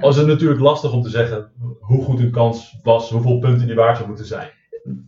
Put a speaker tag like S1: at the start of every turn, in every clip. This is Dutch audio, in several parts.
S1: was het natuurlijk lastig om te zeggen hoe goed een kans was, hoeveel punten die waard zou moeten zijn.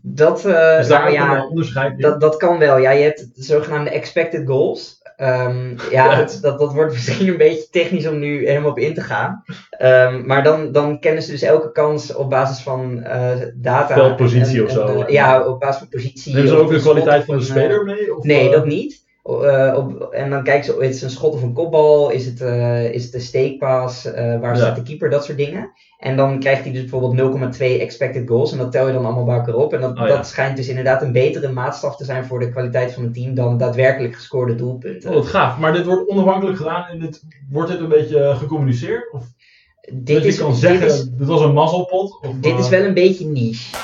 S2: Dat, eh,
S1: Dus daar
S2: nou
S1: heb je wel
S2: ja,
S1: een onderscheid in.
S2: dat, dat kan wel. Ja, je hebt de zogenaamde expected goals. Ehm, ja,
S1: Ja.
S2: dat, dat, dat wordt misschien een beetje technisch om nu helemaal op in te gaan. Ehm, maar dan, dan kennen ze dus elke kans op basis van eh, data.
S1: Veldpositie
S2: En-
S1: of
S2: en,
S1: zo.
S2: eh, ja, op basis van positie.
S1: Nemen ze
S2: of
S1: ook de
S2: een schot
S1: kwaliteit
S2: of
S1: van de
S2: een, eh,
S1: speler mee? Of,
S2: Nee,
S1: eh,
S2: dat niet. O- eh, op, en dan kijken ze, is het een schot of een kopbal? Is het, eh, is het een steekpaas? Eh,
S1: Ja.
S2: waar staat de keeper? Dat soort dingen. En dan krijgt hij dus bijvoorbeeld 0,2 expected goals. En dat tel je dan allemaal bij elkaar op. En dat,
S1: Oh ja.
S2: dat schijnt dus inderdaad een betere maatstaf te zijn voor de kwaliteit van het team dan daadwerkelijk gescoorde doelpunten.
S1: Oh, wat gaaf. Maar dit wordt onafhankelijk gedaan en dit, wordt dit een beetje eh, gecommuniceerd? Of
S2: dit,
S1: dat
S2: is,
S1: dus je kan
S2: dit
S1: zeggen, dit,
S2: is,
S1: was een mazzelpot? Of,
S2: dit is
S1: eh,
S2: wel een beetje niche.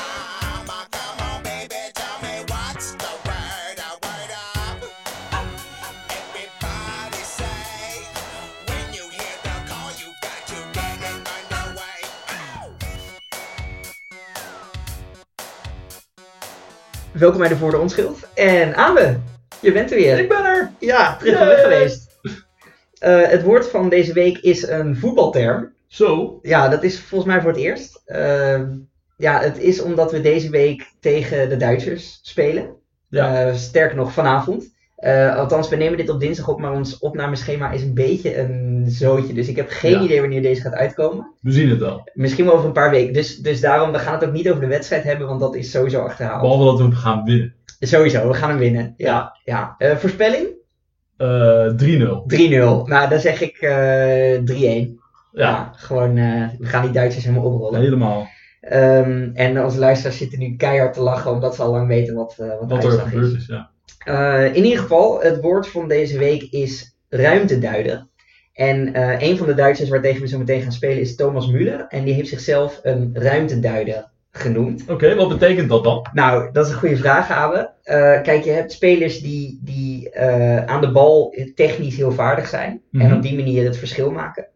S2: Welkom bij de Voor de Onschuld. En Abe, je bent er weer.
S1: Ik ben er!
S2: Ja, terug van weg
S1: Yay!
S2: geweest. Eh, het woord van deze week is een voetbalterm.
S1: Zo.
S2: Ja, dat is volgens mij voor het eerst. Ehm, ja, het is omdat we deze week tegen de Duitsers spelen.
S1: Ja.
S2: Eh, sterker nog, vanavond. Eh, althans, we nemen dit op dinsdag op, maar ons opnameschema is een beetje een zootje. Dus ik heb geen
S1: Ja.
S2: idee wanneer deze gaat uitkomen.
S1: We zien het wel.
S2: Misschien wel over een paar weken. Dus, dus daarom, we gaan het ook niet over de wedstrijd hebben, want dat is sowieso achterhaald.
S1: Behalve dat we hem gaan winnen.
S2: Sowieso, we gaan hem winnen. Ja, ja. Eh, voorspelling? 3-0.
S1: Eh, 3-0.
S2: Nou, dan zeg ik eh, 3-1. Ja.
S1: Ja,
S2: gewoon, eh, we gaan die Duitsers helemaal oprollen.
S1: helemaal.
S2: Ehm, en onze luisteraars zitten nu keihard te lachen, omdat ze al lang weten wat, eh, wat de
S1: Wat er
S2: uitslag
S1: gebeurd
S2: is.
S1: is, ja.
S2: Eh, in ieder geval, het woord van deze week is ruimteduiden. En eh, een van de Duitsers waartegen we zo meteen gaan spelen is Thomas Müller. En die heeft zichzelf een ruimteduider genoemd.
S1: Oké, wat betekent dat dan?
S2: Nou, dat is een goede vraag, Abe. Eh, kijk, je hebt spelers die, die eh, aan de bal technisch heel vaardig zijn.
S1: Mhm.
S2: En op die manier het verschil maken.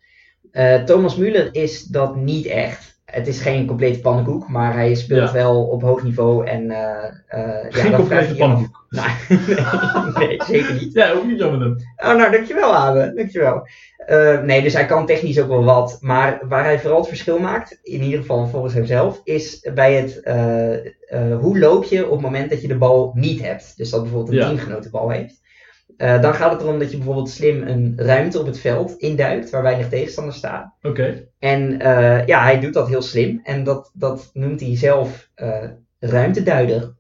S2: Eh, Thomas Müller is dat niet echt. Het is geen complete pannenkoek, maar hij speelt
S1: Ja.
S2: wel op hoog niveau. En, eh, eh, ja,
S1: Geen
S2: dat vraag
S1: complete
S2: je je af.
S1: pannenkoek.
S2: Nou, nee, nee, zeker niet.
S1: Ja, ook niet jammer. dan.
S2: Oh, nou, dankjewel, Abe. Dankjewel. Eh nee, dus hij kan technisch ook wel wat. Maar waar hij vooral het verschil maakt, in ieder geval volgens hemzelf, is bij het eh, eh, hoe loop je op het moment dat je de bal niet hebt. Dus dat bijvoorbeeld een
S1: Ja.
S2: teamgenoot de bal heeft. Eh, dan gaat het erom dat je bijvoorbeeld slim een ruimte op het veld induikt waar weinig tegenstanders staan.
S1: Oké.
S2: En eh, ja, hij doet dat heel slim. En dat, dat noemt hij zelf eh ruimteduider.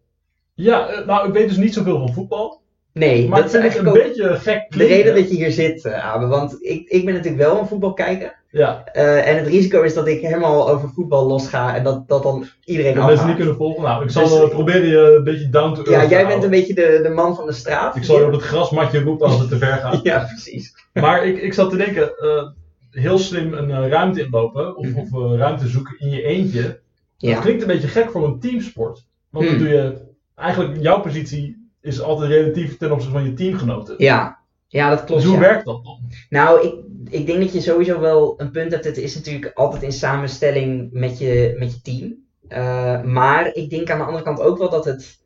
S1: Ja, eh, nou, ik weet dus niet zoveel van voetbal.
S2: Nee,
S1: Maar ik
S2: dat is
S1: vind het een
S2: eigenlijk ook
S1: beetje gek
S2: de
S1: klinken.
S2: reden dat je hier zit, eh, Abe. Want ik, ik ben natuurlijk wel een voetbalkijker.
S1: Ja,
S2: Eh, en het risico is dat ik helemaal over voetbal los ga en dat, dat dan iedereen
S1: dat mensen niet
S2: afgaat.
S1: kunnen volgen. Nou, ik zal
S2: Dus-
S1: eh, proberen je een beetje down to earth
S2: Ja,
S1: te
S2: jij
S1: houden.
S2: bent een beetje de, de man van de straat.
S1: Ik zal je op het grasmatje roepen als het te ver gaat.
S2: Ja, precies.
S1: Maar ik, ik zat te denken, eh, heel slim een eh, ruimte inlopen of, of eh, ruimte zoeken in je eentje.
S2: Ja.
S1: Dat klinkt een beetje gek voor een teamsport. Want
S2: Hmm.
S1: dan doe je eigenlijk jouw positie is altijd relatief ten opzichte van je teamgenoten.
S2: Ja. ja, dat klopt.
S1: dus hoe
S2: ja.
S1: werkt dat dan?
S2: Nou, ik, ik denk dat je sowieso wel een punt hebt. Het is natuurlijk altijd in samenstelling met je, met je team. Eh, maar ik denk aan de andere kant ook wel dat het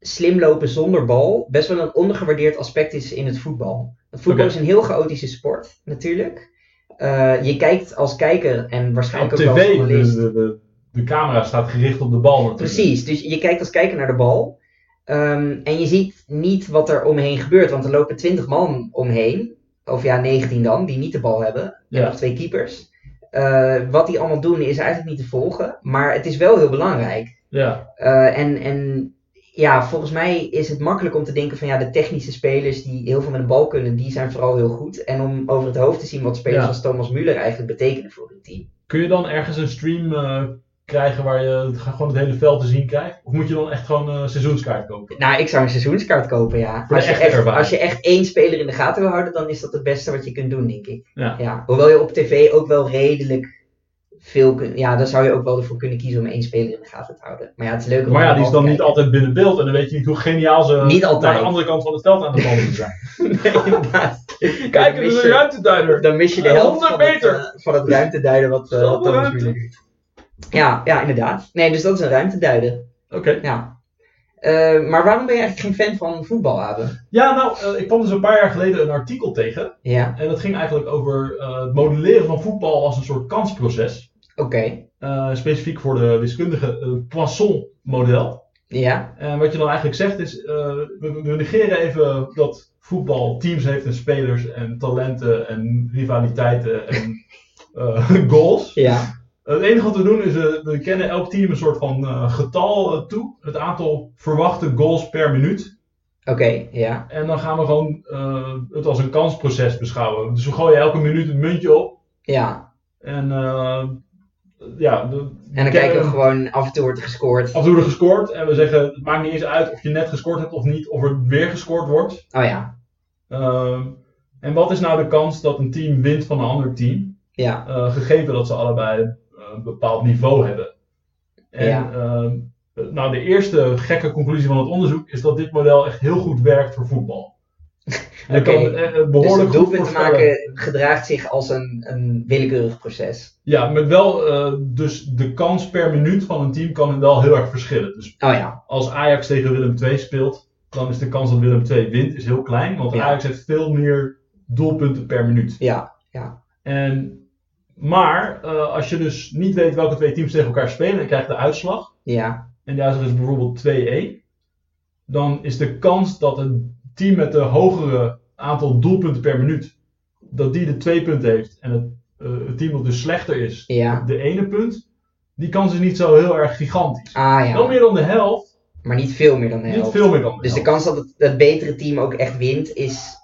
S2: slim lopen zonder bal best wel een ondergewaardeerd aspect is in het voetbal. Want voetbal
S1: Oké.
S2: is een heel chaotische sport, natuurlijk. Eh, je kijkt als kijker en
S1: Op
S2: waarschijnlijk ook wel als
S1: tv, dus
S2: journalist.
S1: de, de, de, de camera staat gericht op de bal natuurlijk.
S2: Precies, dus je kijkt als kijker naar de bal. ehm, en je ziet niet wat er omheen gebeurt, want er lopen 20 man omheen. Of ja, 19 dan, die niet de bal hebben. En
S1: Ja.
S2: nog twee keepers. Eh, wat die allemaal doen is eigenlijk niet te volgen, maar het is wel heel belangrijk.
S1: Ja,
S2: Eh, en, en ja, volgens mij is het makkelijk om te denken van ja, de technische spelers die heel veel met de bal kunnen, die zijn vooral heel goed. En om over het hoofd te zien wat spelers
S1: Ja.
S2: als Thomas Müller eigenlijk betekenen voor een team.
S1: kun je dan ergens een stream eh, krijgen waar je het- gewoon het hele veld te zien krijgt? Of moet je dan echt gewoon een seizoenskaart kopen?
S2: Nou, ik zou een seizoenskaart kopen, ja.
S1: Voor de
S2: Als je,
S1: echte
S2: echt,
S1: ervaring.
S2: als je echt één speler in de gaten wil houden, dan is dat het beste wat je kunt doen, denk ik.
S1: Ja.
S2: Hoewel je op tv ook wel redelijk veel kunt... Ja, daar zou je ook wel ervoor kunnen kiezen om één speler in de gaten te houden. Maar ja, het is leuker om
S1: Maar ja,
S2: naar
S1: die is
S2: de bal
S1: dan
S2: te
S1: niet altijd binnen beeld en dan weet je niet hoe geniaal ze
S2: Niet altijd.
S1: naar de andere kant van het veld aan de bal moeten zijn. dus, eh,
S2: kijken. Nee, inderdaad.
S1: Kijk,
S2: Dan
S1: er is
S2: mis
S1: een
S2: je-
S1: ruimteduider.
S2: Dan mis je de
S1: 100
S2: helft van het,
S1: meter.
S2: eh, van het ruimteduiden wat, eh
S1: Zoveel
S2: wat Thomas
S1: ruimte.
S2: Müller doet. Ja, ja, inderdaad. Nee, dus dat is een ruimteduiden.
S1: Oké,
S2: Ja. Eh, maar waarom ben je eigenlijk geen fan van voetbal, Abe?
S1: Ja, nou, eh, ik kwam dus een paar jaar geleden een artikel tegen.
S2: Ja,
S1: En dat ging eigenlijk over eh, het modelleren van voetbal als een soort kansproces.
S2: oké.
S1: Eh, specifiek voor de wiskundige eh, Poisson-model.
S2: Ja,
S1: En wat je dan eigenlijk zegt is, eh, we, we negeren even dat voetbal teams heeft en spelers en talenten en rivaliteiten en eh, goals.
S2: ja,
S1: Het enige wat we doen is, eh, we kennen elk team een soort van eh, getal eh, toe, het aantal verwachte goals per minuut.
S2: oké, ja.
S1: En dan gaan we gewoon eh, het als een kansproces beschouwen. Dus we gooien elke minuut een muntje op
S2: Ja,
S1: en eh, ja, de-
S2: en dan kijken we
S1: eh,
S2: gewoon, af en toe wordt er gescoord.
S1: Af en toe er gescoord en we zeggen, het maakt niet eens uit of je net gescoord hebt of niet, of er weer gescoord wordt.
S2: Oh ja,
S1: Ehm, en wat is nou de kans dat een team wint van een ander team,
S2: ja,
S1: eh, gegeven dat ze allebei eh, een bepaald niveau hebben? En
S2: Ja.
S1: ehm, nou, de eerste gekke conclusie van het onderzoek is dat dit model echt heel goed werkt voor voetbal.
S2: oké.
S1: Het kan, eh, eh,
S2: Dus
S1: behoorlijk
S2: het
S1: goed
S2: doelpunt te
S1: voorspellen.
S2: maken gedraagt zich als een, een willekeurig proces.
S1: Ja, met wel, eh, dus de kans per minuut van een team kan wel heel erg verschillen. Dus
S2: Oh ja,
S1: als Ajax tegen Willem II speelt, dan is de kans dat Willem II wint is heel klein, want
S2: Ja.
S1: Ajax heeft veel meer doelpunten per minuut.
S2: ja,
S1: En, maar eh, als je dus niet weet welke twee teams tegen elkaar spelen en je krijgt de uitslag,
S2: ja,
S1: en de uitslag is bijvoorbeeld 2-1, dan is de kans dat het team met de hogere aantal doelpunten per minuut, dat die de twee punten heeft en het, eh, het team dat dus slechter is,
S2: ja.
S1: de ene punt, die kans is niet zo heel erg gigantisch.
S2: Ah
S1: Wel
S2: ja,
S1: meer dan de helft,
S2: maar niet veel meer dan de
S1: niet
S2: helft.
S1: veel meer dan de
S2: Dus de
S1: helft.
S2: kans dat het, dat betere team ook echt wint is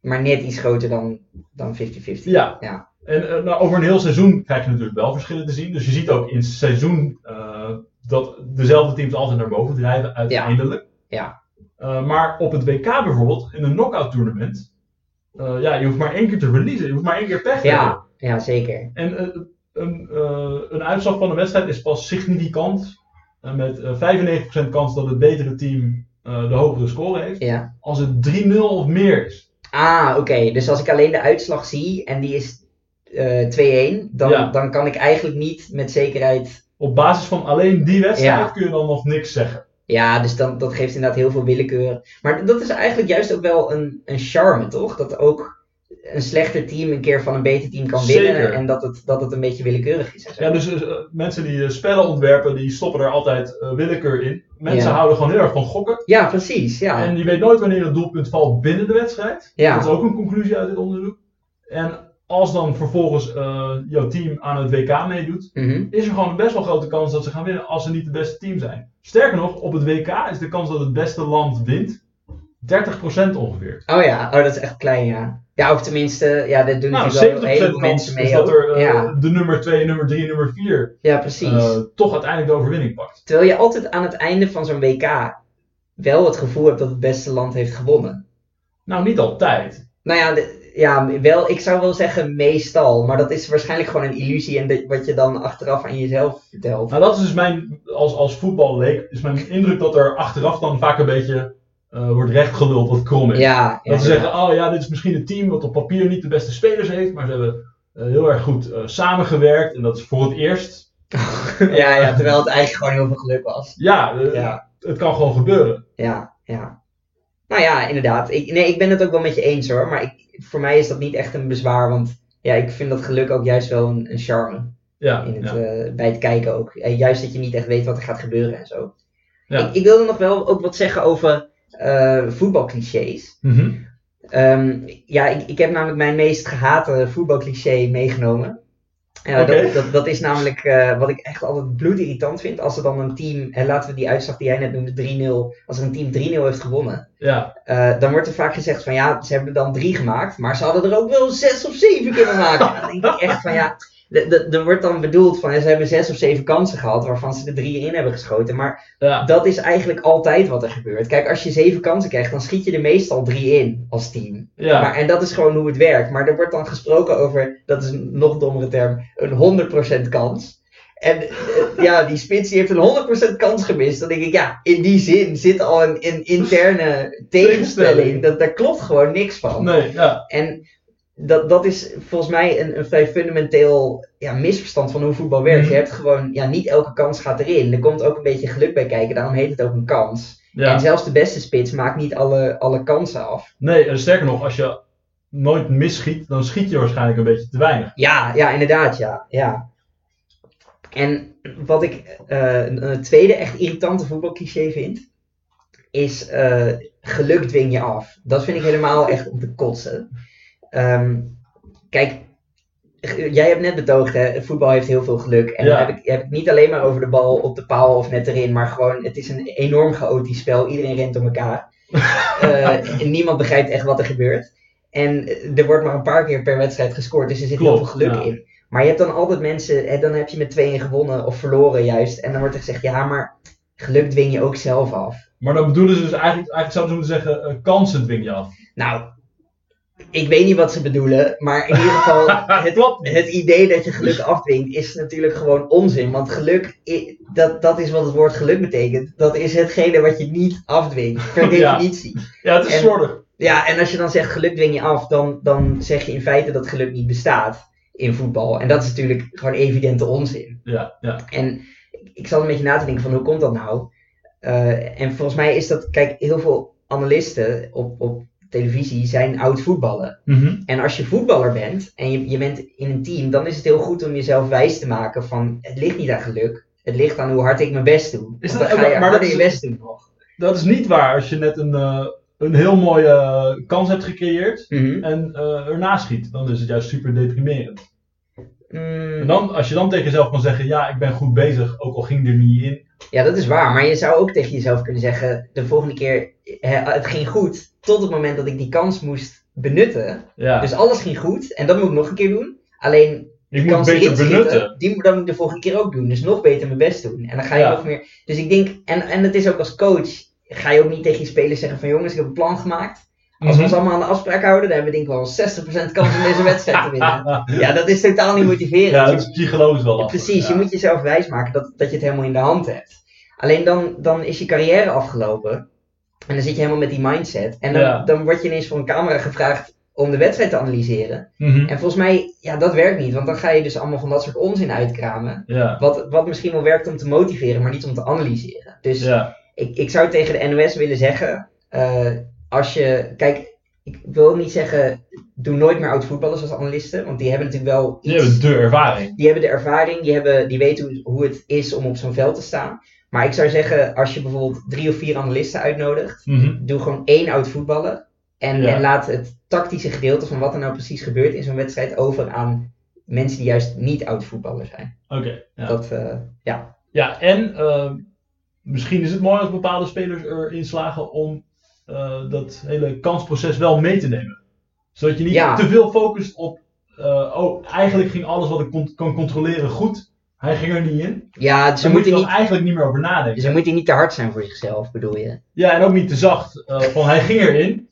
S2: maar net iets groter dan, dan 50-50.
S1: Ja.
S2: Ja.
S1: En eh, nou, over een heel seizoen krijg je natuurlijk wel verschillen te zien. Dus je ziet ook in het seizoen eh, dat dezelfde teams altijd naar boven drijven, uiteindelijk.
S2: Ja.
S1: Eh, maar op het WK bijvoorbeeld, in een knockout tournament, eh, ja, je hoeft maar één keer te verliezen. Je hoeft maar één keer pech te hebben.
S2: Ja, ja, zeker.
S1: En eh, een, eh, een uitslag van een wedstrijd is pas significant. eh, met eh, 95% kans dat het betere team eh, de hogere score heeft.
S2: Ja.
S1: Als het 3-0 of meer is.
S2: Ah, oké. Dus als ik alleen de uitslag zie en die is eh 2-1, dan,
S1: Ja.
S2: dan kan ik eigenlijk niet met zekerheid.
S1: Op basis van alleen die wedstrijd
S2: Ja.
S1: kun je dan nog niks zeggen.
S2: Ja, dus dan, dat geeft inderdaad heel veel willekeur. Maar dat is eigenlijk juist ook wel een, een charme, toch? Dat ook een slechter team een keer van een beter team kan winnen
S1: Zeker.
S2: en dat het, dat het een beetje willekeurig is. en zo.
S1: Ja, dus eh, mensen die eh, spellen ontwerpen, die stoppen er altijd eh, willekeur in. Mensen
S2: Ja.
S1: houden gewoon heel erg van gokken.
S2: ja, precies. Ja.
S1: En je weet nooit wanneer het doelpunt valt binnen de wedstrijd.
S2: ja.
S1: Dat is ook een conclusie uit dit onderzoek. En als dan vervolgens eh, jouw team aan het WK meedoet,
S2: Mhm.
S1: is er gewoon een best wel grote kans dat ze gaan winnen als ze niet het beste team zijn. Sterker nog, op het WK is de kans dat het beste land wint 30% ongeveer.
S2: Oh ja, oh, dat is echt klein, ja. Ja, of tenminste, ja, dat doen
S1: Nou, 70%
S2: natuurlijk wel een heleboel
S1: kans
S2: mensen mee.
S1: is dat
S2: ook.
S1: er eh,
S2: ja,
S1: de nummer 2, nummer 3, nummer 4
S2: ja, precies.
S1: toch uiteindelijk de overwinning pakt.
S2: Terwijl je altijd aan het einde van zo'n WK wel het gevoel hebt dat het beste land heeft gewonnen.
S1: Nou, niet altijd.
S2: Nou ja, de- ja wel, ik zou wel zeggen meestal, maar dat is waarschijnlijk gewoon een illusie en dat- wat je dan achteraf aan jezelf vertelt.
S1: Nou, dat is dus mijn, als, als voetballeek, is mijn indruk dat er achteraf dan vaak een beetje eh, wordt rechtgeluld wat krom is.
S2: Ja,
S1: dat
S2: ja,
S1: ze zeggen, oh ja, dit is misschien een team wat op papier niet de beste spelers heeft, maar ze hebben eh, heel erg goed eh, samengewerkt en dat is voor het eerst.
S2: ja, ja, terwijl het eigenlijk gewoon heel veel geluk was.
S1: Ja, eh,
S2: Ja,
S1: het kan gewoon gebeuren.
S2: ja, ja. Nou ja, inderdaad. Ik, nee, ik ben het ook wel met je eens hoor, maar ik, voor mij is dat niet echt een bezwaar, want ja, ik vind dat geluk ook juist wel een, een charme.
S1: Ja,
S2: in het,
S1: ja.
S2: eh, bij het kijken ook. Eh, juist dat je niet echt weet wat er gaat gebeuren en zo.
S1: Ja.
S2: Ik, ik wilde nog wel ook wat zeggen over eh, voetbalclichés.
S1: Mhm.
S2: Ehm, ja, ik, ik heb namelijk mijn meest gehate voetbalcliché meegenomen. Ja,
S1: Oké.
S2: dat, dat, dat is namelijk eh, wat ik echt altijd bloedirritant vind. Als er dan een team, en laten we die uitslag die jij net noemde, 3-0. Als er een team 3-0 heeft gewonnen,
S1: ja.
S2: eh, dan wordt er vaak gezegd van ja, ze hebben er dan drie gemaakt. Maar ze hadden er ook wel zes of zeven kunnen maken. En dan denk ik echt van ja, de- de- er wordt dan bedoeld van ja, ze hebben zes of zeven kansen gehad waarvan ze er drie in hebben geschoten. Maar
S1: ja.
S2: dat is eigenlijk altijd wat er gebeurt. Kijk, als je zeven kansen krijgt, dan schiet je er meestal drie in als team.
S1: ja.
S2: Maar, en dat is gewoon hoe het werkt. Maar er wordt dan gesproken over, dat is een nog dommere term, een 100% kans. En eh, ja, die spits die heeft een 100% kans gemist. Dan denk ik, ja, in die zin zit al een, een interne tegenstelling. Dat, daar klopt gewoon niks van.
S1: Nee, ja.
S2: En dat, dat is volgens mij een, een vrij fundamenteel ja, misverstand van hoe voetbal werkt.
S1: Mhm.
S2: Je hebt gewoon, ja, niet elke kans gaat erin. Er komt ook een beetje geluk bij kijken, daarom heet het ook een kans. En
S1: Ja.
S2: zelfs de beste spits maakt niet alle, alle kansen af.
S1: Nee, en sterker nog, als je nooit misschiet, dan schiet je waarschijnlijk een beetje te weinig.
S2: Ja, ja, inderdaad, ja. ja. En wat ik eh, een, een tweede echt irritante voetbalcliché vind, is eh, geluk dwing je af. Dat vind ik helemaal echt om te kotsen. Ehm, kijk, g- jij hebt net betoogd, hè, voetbal heeft heel veel geluk. En
S1: Ja.
S2: dan heb ik, heb ik niet alleen maar over de bal op de paal of net erin, maar gewoon, het is een enorm chaotisch spel. Iedereen rent op elkaar. Eh, en niemand begrijpt echt wat er gebeurt. En eh, er wordt maar een paar keer per wedstrijd gescoord, dus er zit heel
S1: Klopt,
S2: veel geluk
S1: ja.
S2: in. Maar je hebt dan altijd mensen, hè, dan heb je met 2-1 gewonnen of verloren juist. En dan wordt er gezegd, ja, maar geluk dwing je ook zelf af.
S1: Maar dan bedoelen ze dus eigenlijk, eigenlijk zouden ze moeten zeggen, eh, kansen dwing je af.
S2: Nou, ik weet niet wat ze bedoelen, maar in ieder geval, het,
S1: Klopt.
S2: het idee dat je geluk afdwingt is natuurlijk gewoon onzin. Want geluk, i- dat, dat is wat het woord geluk betekent. Dat is hetgene wat je niet afdwingt, per
S1: Ja.
S2: definitie. Ja,
S1: Ja, het is
S2: En-
S1: slordig.
S2: en als je dan zegt geluk dwing je af, dan, dan zeg je in feite dat geluk niet bestaat in voetbal. En dat is natuurlijk gewoon evidente onzin.
S1: Ja, ja.
S2: En ik- ik zat een beetje na te denken van hoe komt dat nou? Eh, en volgens mij is dat, kijk, heel veel analisten op, op televisie zijn oud voetballer.
S1: Mhm.
S2: En als je voetballer bent en je, je bent in een team, dan is het heel goed om jezelf wijs te maken van het ligt niet aan geluk. Het ligt aan hoe hard ik mijn best doe.
S1: Is
S2: Want
S1: dat
S2: dan
S1: ook-
S2: ga je
S1: maar dat
S2: harder
S1: is-
S2: je best doen nog.
S1: Dat is niet waar als je net een, eh, een heel mooie eh, kans hebt gecreëerd
S2: Mhm.
S1: en eh erna schiet. Dan is het juist super deprimerend.
S2: Mm,
S1: En dan, als je dan tegen jezelf kan zeggen, ja, ik ben goed bezig, ook al ging er niet in.
S2: Ja, dat is waar. Maar je zou ook tegen jezelf kunnen zeggen, de volgende keer, hè, het ging goed tot het moment dat ik die kans moest benutten.
S1: Ja,
S2: Dus alles ging goed en dat moet ik nog een keer doen. Alleen
S1: ik
S2: de
S1: moet het
S2: kansen
S1: beter
S2: inschieten,
S1: benutten.
S2: die moet dan de volgende keer ook doen. Dus nog beter mijn best doen. En dan ga je
S1: Ja.
S2: nog meer. Dus ik denk, en, en het is ook als coach, ga je ook niet tegen je spelers zeggen van jongens, ik heb een plan gemaakt. Als
S1: Mhm.
S2: we ons allemaal aan de afspraak houden, dan hebben we denk ik wel 60% kans om deze wedstrijd te winnen. Ja, dat is totaal niet motiverend.
S1: Ja,
S2: Je
S1: dat is psychologisch wel lastig.
S2: Precies,
S1: ja.
S2: je moet jezelf wijsmaken dat, dat je het helemaal in de hand hebt. Alleen dan, dan is je carrière afgelopen. En dan zit je helemaal met die mindset. En dan,
S1: Ja.
S2: dan word je ineens voor een camera gevraagd om de wedstrijd te analyseren.
S1: Mhm.
S2: En volgens mij, ja, dat werkt niet. Want dan ga je dus allemaal van dat soort onzin uitkramen.
S1: Ja,
S2: Wat, wat misschien wel werkt om te motiveren, maar niet om te analyseren. Dus
S1: ja.
S2: ik, ik zou tegen de NOS willen zeggen, eh, als je, kijk, ik wil niet zeggen, doe nooit meer oud voetballers als analisten. Want die hebben natuurlijk wel
S1: Die
S2: iets-
S1: hebben de ervaring.
S2: die hebben de ervaring, die, hebben, die weten hoe, hoe het is om op zo'n veld te staan. Maar ik zou zeggen, als je bijvoorbeeld drie of vier analisten uitnodigt,
S1: Mhm.
S2: doe gewoon één oud voetballer. En,
S1: Ja.
S2: en laat het tactische gedeelte van wat er nou precies gebeurt in zo'n wedstrijd over aan mensen die juist niet oud voetballer zijn.
S1: Oké. ja.
S2: Dat, eh,
S1: Ja, en eh, misschien is het mooi als bepaalde spelers erin slagen om eh, dat hele kansproces wel mee te nemen. Zodat je niet
S2: Ja.
S1: te veel focust op, eh, oh, eigenlijk ging alles wat ik kon, kan controleren goed. Hij ging er niet in.
S2: ja,
S1: Daar moet
S2: ze
S1: je
S2: moeten,
S1: dan
S2: niet,
S1: eigenlijk niet meer over nadenken.
S2: ze moeten niet te hard zijn voor zichzelf, bedoel je?
S1: Ja, en ook niet te zacht. eh, van hij ging erin.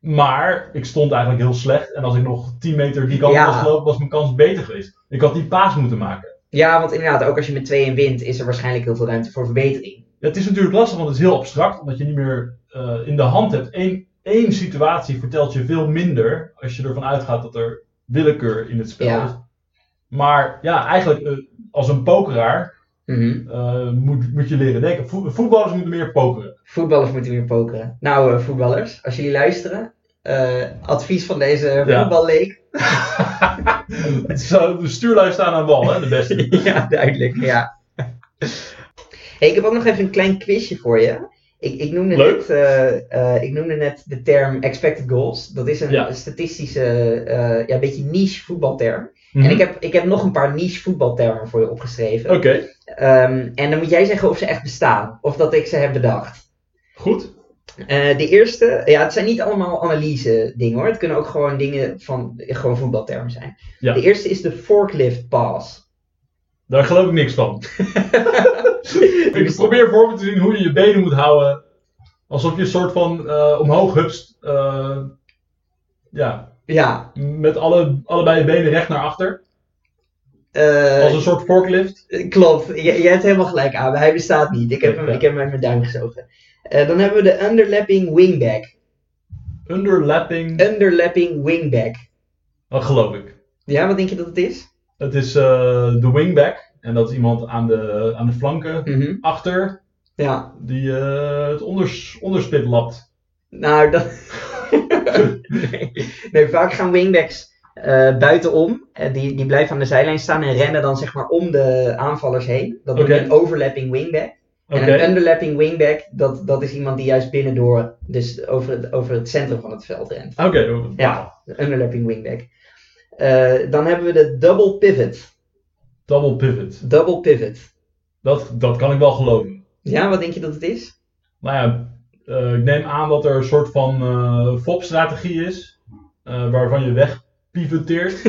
S1: Maar ik stond eigenlijk heel slecht. En als ik nog 10 meter die kant
S2: Ja.
S1: was gelopen, was mijn kans beter geweest. Ik had die paas moeten maken.
S2: Ja, want inderdaad, ook als je met 2-1 wint, is er waarschijnlijk heel veel ruimte voor verbetering.
S1: Ja, Het is natuurlijk lastig, want het is heel abstract, omdat je niet meer eh, in de hand hebt. Eén, één situatie vertelt je veel minder als je ervan uitgaat dat er willekeur in het spel
S2: Ja.
S1: is. Maar ja, eigenlijk eh, als een pokeraar
S2: Mhm.
S1: eh, moet, moet je leren denken. Voet- voetballers moeten meer pokeren.
S2: Voetballers moeten weer pokeren. Nou, eh, voetballers, als jullie luisteren, eh, advies van deze
S1: Ja.
S2: voetballeek.
S1: het is, eh, de stuurlijst staan aan wal, hè, de beste.
S2: ja, duidelijk, ja. Hey, ik heb ook nog even een klein quizje voor je. Ik, ik, noemde
S1: Leuk.
S2: net, eh, eh, ik noemde net de term expected goals. Dat is een
S1: Ja.
S2: statistische, eh, ja, beetje niche voetbalterm.
S1: Mhm.
S2: En ik heb, ik heb nog een paar niche voetbaltermen voor je opgeschreven.
S1: Oké,
S2: Ehm, en dan moet jij zeggen of ze echt bestaan. Of dat ik ze heb bedacht.
S1: goed.
S2: Eh, de eerste, ja, het zijn niet allemaal analyse dingen hoor. Het kunnen ook gewoon dingen van gewoon voetbaltermen zijn.
S1: Ja.
S2: De eerste is de forklift pass.
S1: Daar geloof ik niks van.
S2: Die
S1: Ik
S2: bestaat-
S1: probeer voor me te zien hoe je je benen moet houden. Alsof je een soort van eh, omhoog hupst. eh, ja,
S2: ja.
S1: Met alle, allebei je benen recht naar achter.
S2: eh,
S1: Als een soort forklift.
S2: Klopt, J- jij hebt helemaal gelijk aan. Hij bestaat niet. Ik heb hem,
S1: Ja.
S2: ik heb hem uit mijn duim gezogen. Eh, dan hebben we de underlapping wingback.
S1: Underlapping.
S2: Eh. Underlapping wingback.
S1: Dat geloof ik.
S2: Ja, wat denk je dat het is?
S1: Het is eh, de wingback. En dat is iemand aan de, aan de flanken
S2: Mhm.
S1: achter
S2: Ja,
S1: die eh, het onders, onderspit lapt.
S2: nou dat... nee. nee, vaak gaan wingbacks eh, buitenom. Eh, die, die blijven aan de zijlijn staan en rennen dan zeg maar om de aanvallers heen. Dat noem je
S1: Oké.
S2: een overlapping wingback.
S1: Oké,
S2: En een underlapping wingback, dat, dat is iemand die juist binnendoor, dus over het, over het centrum van het veld rent.
S1: oké.
S2: Ja. Een underlapping wingback. Eh, dan hebben we de double pivot.
S1: Double pivot.
S2: Double pivot.
S1: Dat, dat kan ik wel geloven.
S2: Ja, wat denk je dat het is?
S1: Nou ja, eh, ik neem aan dat er een soort van eh FOP-strategie is, eh, waarvan je wegpivoteert.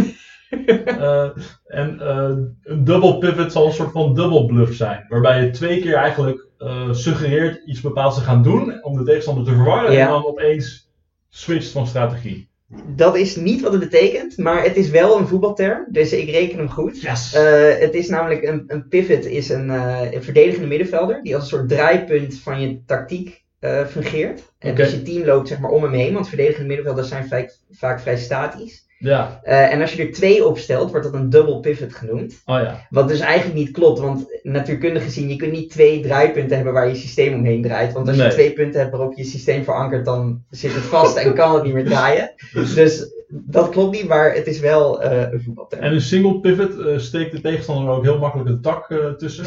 S1: Eh, en eh, een dubbel pivot zal een soort van dubbel bluff zijn, waarbij je twee keer eigenlijk eh, suggereert iets bepaalds te gaan doen om de tegenstander te verwarren
S2: Ja.
S1: en dan opeens switcht van strategie.
S2: Dat is niet wat het betekent, maar het is wel een voetbalterm, dus ik reken hem goed.
S1: Yes!
S2: Eh, het is namelijk een, een pivot, is een, eh, een verdedigende middenvelder die als een soort draaipunt van je tactiek eh, fungeert. En
S1: Oké.
S2: dus je team loopt zeg maar om hem heen, want verdedigende middenvelders zijn vaak, vaak vrij statisch.
S1: ja,
S2: Eh, en als je er twee opstelt, wordt dat een dubbel pivot genoemd.
S1: oh ja.
S2: Wat dus eigenlijk niet klopt, want natuurkundig gezien, je kunt niet twee draaipunten hebben waar je systeem omheen draait. Want als je
S1: Nee.
S2: twee punten hebt waarop je systeem verankert, dan zit het vast en kan het niet meer draaien. Dus dat klopt niet, maar het is wel eh, een voetbalterm.
S1: En een single pivot eh, steekt de tegenstander ook heel makkelijk een tak eh, tussen.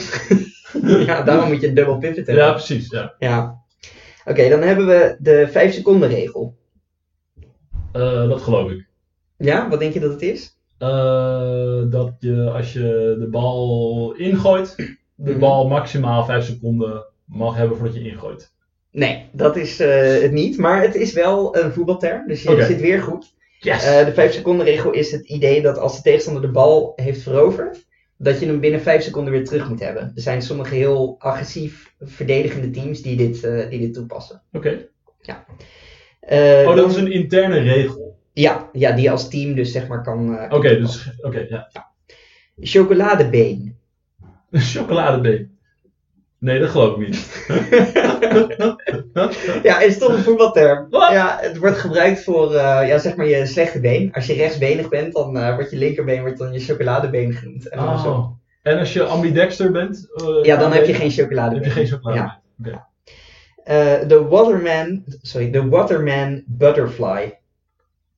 S2: Ja, daarom moet je een dubbel pivot hebben.
S1: Ja, precies. Ja.
S2: Ja. Oké, dan hebben we de 5 seconden regel.
S1: Eh, dat geloof ik.
S2: Ja, wat denk je dat het is?
S1: Eh, dat je als je de bal ingooit, de
S2: Mhm.
S1: bal maximaal 5 seconden mag hebben voordat je ingooit.
S2: Nee, dat is eh, het niet, maar het is wel een voetbalterm, dus je
S1: Oké.
S2: zit weer goed.
S1: Yes!
S2: Eh, de 5 seconden regel is het idee dat als de tegenstander de bal heeft veroverd, dat je hem binnen 5 seconden weer terug moet hebben. Er zijn sommige heel agressief verdedigende teams die dit, eh, die dit toepassen.
S1: Oké.
S2: Eh,
S1: Oh,
S2: dan-
S1: dat is een interne regel.
S2: ja, ja, die je als team dus zeg maar kan. eh,
S1: Oké, dus. Oké, ja.
S2: Chocoladebeen.
S1: Chocoladebeen. Nee, dat geloof ik niet.
S2: Ja, het is toch een voetbalterm.
S1: Wat?
S2: Ja, het wordt gebruikt voor eh, ja, zeg maar je slechte been. Als je rechtsbenig bent, dan eh, wordt je linkerbeen wordt dan je chocoladebeen genoemd. En andersom.
S1: Oh. En als je ambidexter bent. eh,
S2: Ja, dan heb je
S1: dan
S2: geen chocoladebeen.
S1: heb je geen chocolade.
S2: Ja. Eh, de Waterman, sorry, de Waterman Butterfly.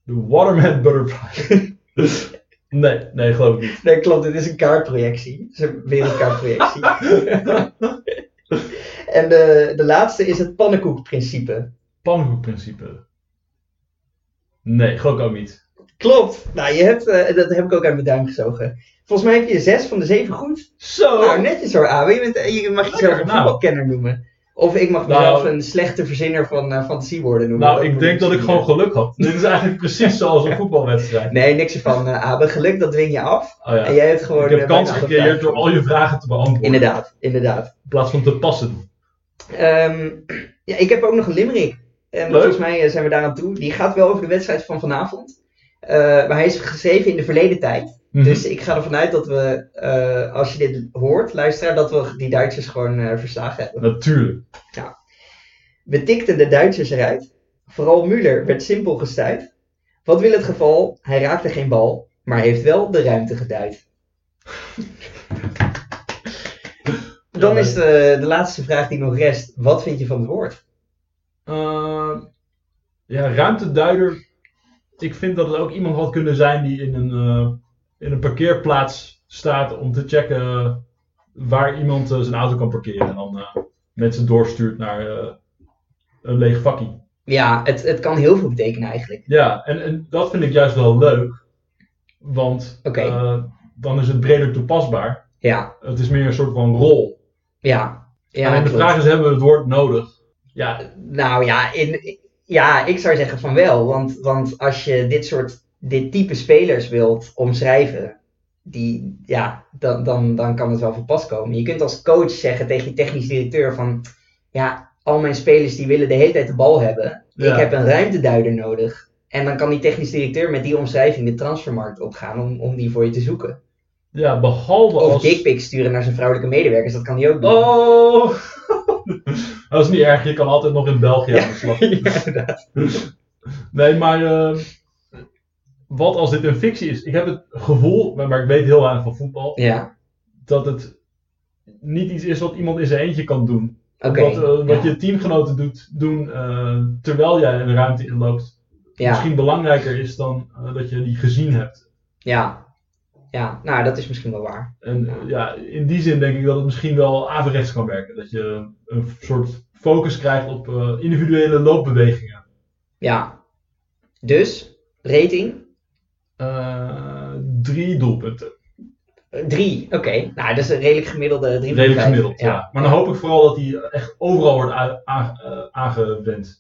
S1: De Waterman Butterfly. nee, nee, geloof ik niet.
S2: Nee, klopt, dit is een kaartprojectie. Het is een wereldkaartprojectie. en de, de laatste is het pannenkoekprincipe.
S1: Pannenkoekprincipe. Nee, geloof ik ook niet.
S2: Klopt. Nou, je hebt, eh, dat heb ik ook uit mijn duim gezogen. Volgens mij heb je zes van de zeven goed.
S1: Zo!
S2: Nou, netjes hoor, Abe. Je, bent, eh, je mag jezelf een
S1: Oh. nou.
S2: voetbalkenner noemen. Of ik mag
S1: Nou.
S2: mezelf een slechte verzinner van eh, fantasiewoorden noemen.
S1: Nou,
S2: Dat
S1: ik
S2: moet
S1: denk dat ik
S2: misschien,
S1: gewoon geluk had. Dit is eigenlijk precies zoals een
S2: eh,
S1: voetbalwedstrijd.
S2: Nee, niks ervan, eh Abe. Geluk, dat dwing je af.
S1: Oh ja.
S2: En jij hebt gewoon...
S1: Ik
S2: eh,
S1: heb kansen
S2: bijna alle
S1: gecreëerd
S2: vragen.
S1: door al je vragen te beantwoorden.
S2: Inderdaad, inderdaad.
S1: In plaats van te passen.
S2: Ehm, ja, ik heb ook nog een limerick. En
S1: Leuk.
S2: volgens mij eh, zijn we daar aan toe. Die gaat wel over de wedstrijd van vanavond. Eh, maar hij is geschreven in de verleden tijd.
S1: Mhm.
S2: Dus ik ga ervan uit dat we, eh, als je dit hoort, luisteraar, dat we die Duitsers gewoon eh, verslagen hebben.
S1: Natuurlijk.
S2: We tikten de Duitsers eruit. Vooral Müller werd simpel gestuit. Wat wil het geval? Hij raakte geen bal, maar heeft wel de ruimte geduid. Dan is eh, de, de laatste vraag die nog rest. Wat vind je van het woord?
S1: Eh, ja, ruimteduider. Ik vind dat het ook iemand had kunnen zijn die in een, eh, in een parkeerplaats staat om te checken waar iemand eh, zijn auto kan parkeren. En dan eh, mensen doorstuurt naar eh, een leeg vakkie.
S2: Ja, het, het kan heel veel betekenen eigenlijk.
S1: Ja, en, en dat vind ik juist wel leuk. Want
S2: Oké.
S1: eh, dan is het breder toepasbaar.
S2: Ja,
S1: Het is meer een soort van rol.
S2: ja. ja
S1: en de
S2: klopt.
S1: vraag is, hebben we het woord nodig? Ja,
S2: Nou ja, in, ja, ik zou zeggen van wel. Want, want als je dit soort, dit type spelers wilt omschrijven, die, ja, dan, dan, dan kan het wel van pas komen. Je kunt als coach zeggen tegen je technisch directeur van, ja, al mijn spelers die willen de hele tijd de bal hebben.
S1: Ja.
S2: Ik heb een ruimteduider nodig. En dan kan die technisch directeur met die omschrijving de transfermarkt opgaan om, om die voor je te zoeken.
S1: ja behalve
S2: Of
S1: als...
S2: dickpics sturen naar zijn vrouwelijke medewerkers, dat kan hij ook doen.
S1: Oh! dat is niet erg, je kan altijd nog in België aan de slag.
S2: Ja, inderdaad.
S1: Nee, maar eh, ehm, wat als dit een fictie is? Ik heb het gevoel, maar, maar ik weet heel weinig van voetbal,
S2: Ja,
S1: dat het niet iets is wat iemand in zijn eentje kan doen.
S2: oké.
S1: Wat, eh, wat
S2: ja.
S1: je teamgenoten doet, doen eh, terwijl jij een ruimte inloopt,
S2: Ja,
S1: misschien belangrijker is dan eh, dat je die gezien hebt.
S2: ja. Ja, nou dat is misschien wel waar.
S1: En eh, ja, in die zin denk ik dat het misschien wel averechts kan werken. Dat je een soort focus krijgt op eh, individuele loopbewegingen.
S2: Ja. Dus, rating?
S1: Eh, drie doelpunten.
S2: Eh, Drie, oké. Nou, dat is een redelijk gemiddelde drie van
S1: Redelijk
S2: vijf.
S1: gemiddeld, ja. Maar dan hoop ik vooral dat die echt overal wordt a- a- eh, aangewend.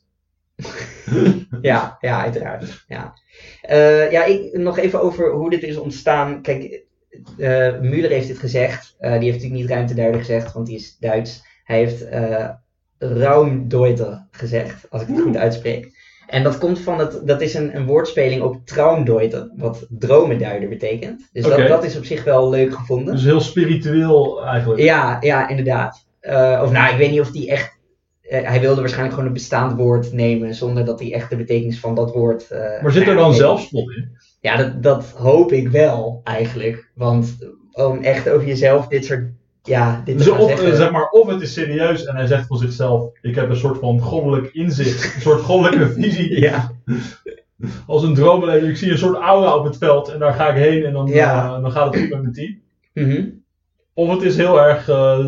S2: Ja, ja, uiteraard. Ja, Eh, ja ik, nog even over hoe dit is ontstaan. Kijk, eh Müller heeft dit gezegd. Eh, die heeft natuurlijk niet ruimte derde gezegd, want die is Duits. Hij heeft eh Raumdeuter gezegd, als ik het goed
S1: Oeh.
S2: uitspreek. En dat komt van het, dat is een, een woordspeling op Traumdeuter, wat dromenduider betekent. Dus
S1: Oké.
S2: dat, dat is op zich wel leuk gevonden.
S1: Dus heel spiritueel eigenlijk.
S2: Ja, ja, inderdaad. Eh, of nou, ik weet niet of die echt. eh, hij wilde waarschijnlijk gewoon een bestaand woord nemen zonder dat hij echt de betekenis van dat woord. eh,
S1: Maar zit er
S2: nou,
S1: dan
S2: weet.
S1: zelfspot in?
S2: Ja, dat, dat hoop ik wel eigenlijk. Want om echt over jezelf dit soort. Ja, dit
S1: Dus
S2: te gaan
S1: of,
S2: zeggen.
S1: eh, zeg maar, of het is serieus en hij zegt van zichzelf: Ik heb een soort van goddelijk inzicht, een soort goddelijke visie.
S2: Ja,
S1: Als een droombelever. Ik zie een soort aura op het veld en daar ga ik heen en dan,
S2: Ja.
S1: eh, dan gaat het goed met mijn team.
S2: mhm.
S1: Of het is heel erg eh,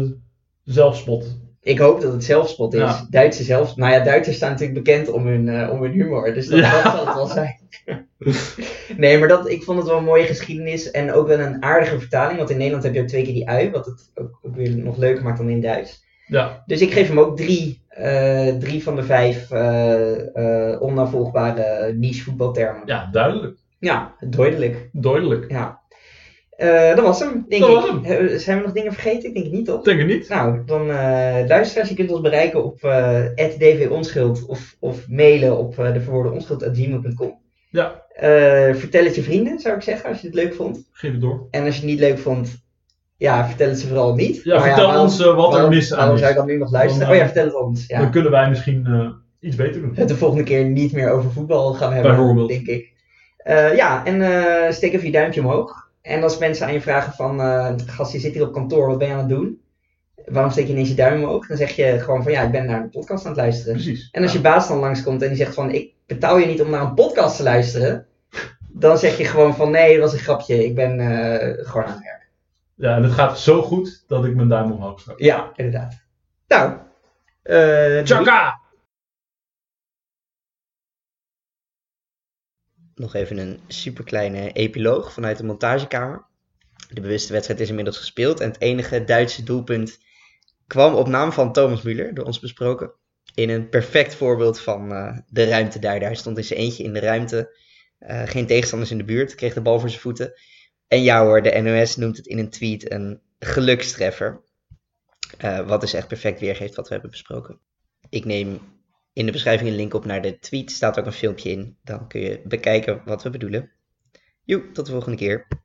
S1: zelfspot.
S2: ik hoop dat het zelfspot is.
S1: Ja.
S2: Duitse zelfspot. Nou ja, Duitsers staan natuurlijk bekend om hun, eh, om hun humor. Dus dat,
S1: Ja.
S2: dat zal het wel zijn. nee, maar dat, ik vond het wel een mooie geschiedenis. En ook wel een aardige vertaling. Want in Nederland heb je ook twee keer die ui. Wat het ook, ook weer nog leuker maakt dan in Duits.
S1: Ja.
S2: Dus ik geef hem ook drie. eh, drie van de vijf eh, eh, onnavolgbare niche voetbaltermen.
S1: ja, duidelijk.
S2: Ja, duidelijk.
S1: Duidelijk.
S2: Ja. Eh, dat was hem, denk
S1: Dat
S2: ik.
S1: was hem.
S2: Eh, Zijn we nog dingen vergeten? Ik denk het niet, toch?
S1: Ik denk het niet.
S2: Nou, dan eh luisteraars, je kunt ons bereiken op eh @dvonschuld of, of mailen op eh de verwoorden onschuld.gmail.com.
S1: Ja.
S2: Eh, vertel het je vrienden, zou ik zeggen, als je het leuk vond.
S1: Geef het door.
S2: En als je het niet leuk vond, ja, vertel het ze vooral niet.
S1: Ja,
S2: Maar
S1: vertel
S2: waarom-
S1: ons eh, wat er
S2: waarom-
S1: mis aan
S2: Waarom
S1: is.
S2: zou je dan nu nog luisteren?
S1: Dan,
S2: oh
S1: eh,
S2: ja, vertel het ons. Ja.
S1: Dan kunnen wij misschien eh, iets beter doen.
S2: Het de volgende keer niet meer over voetbal gaan hebben,
S1: Bijvoorbeeld.
S2: denk ik. Eh, ja, en eh, steek even je duimpje omhoog. En als mensen aan je vragen van, eh, gast, je zit hier op kantoor, wat ben je aan het doen? Waarom steek je ineens je duim omhoog? Dan zeg je gewoon van, ja, ik ben naar een podcast aan het luisteren.
S1: Precies.
S2: En als je baas dan langskomt en die zegt van, ik betaal je niet om naar een podcast te luisteren. Dan zeg je gewoon van, nee, dat was een grapje, ik ben eh, gewoon aan het werk.
S1: Ja, en het gaat zo goed dat ik mijn duim omhoog stak.
S2: Ja, inderdaad. Nou, eh, doei.
S1: Tjaka!
S2: Nog even een superkleine epiloog vanuit de montagekamer. De bewuste wedstrijd is inmiddels gespeeld en het enige Duitse doelpunt kwam op naam van Thomas Müller, door ons besproken. In een perfect voorbeeld van eh, de ruimte daar. Hij stond in zijn eentje in de ruimte. Eh, geen tegenstanders in de buurt, kreeg de bal voor zijn voeten. En ja hoor, de NOS noemt het in een tweet een gelukstreffer. Eh, wat dus echt perfect weergeeft wat we hebben besproken. Ik neem in de beschrijving een link op naar de tweet. Staat ook een filmpje in. Dan kun je bekijken wat we bedoelen. Joe, tot de volgende keer.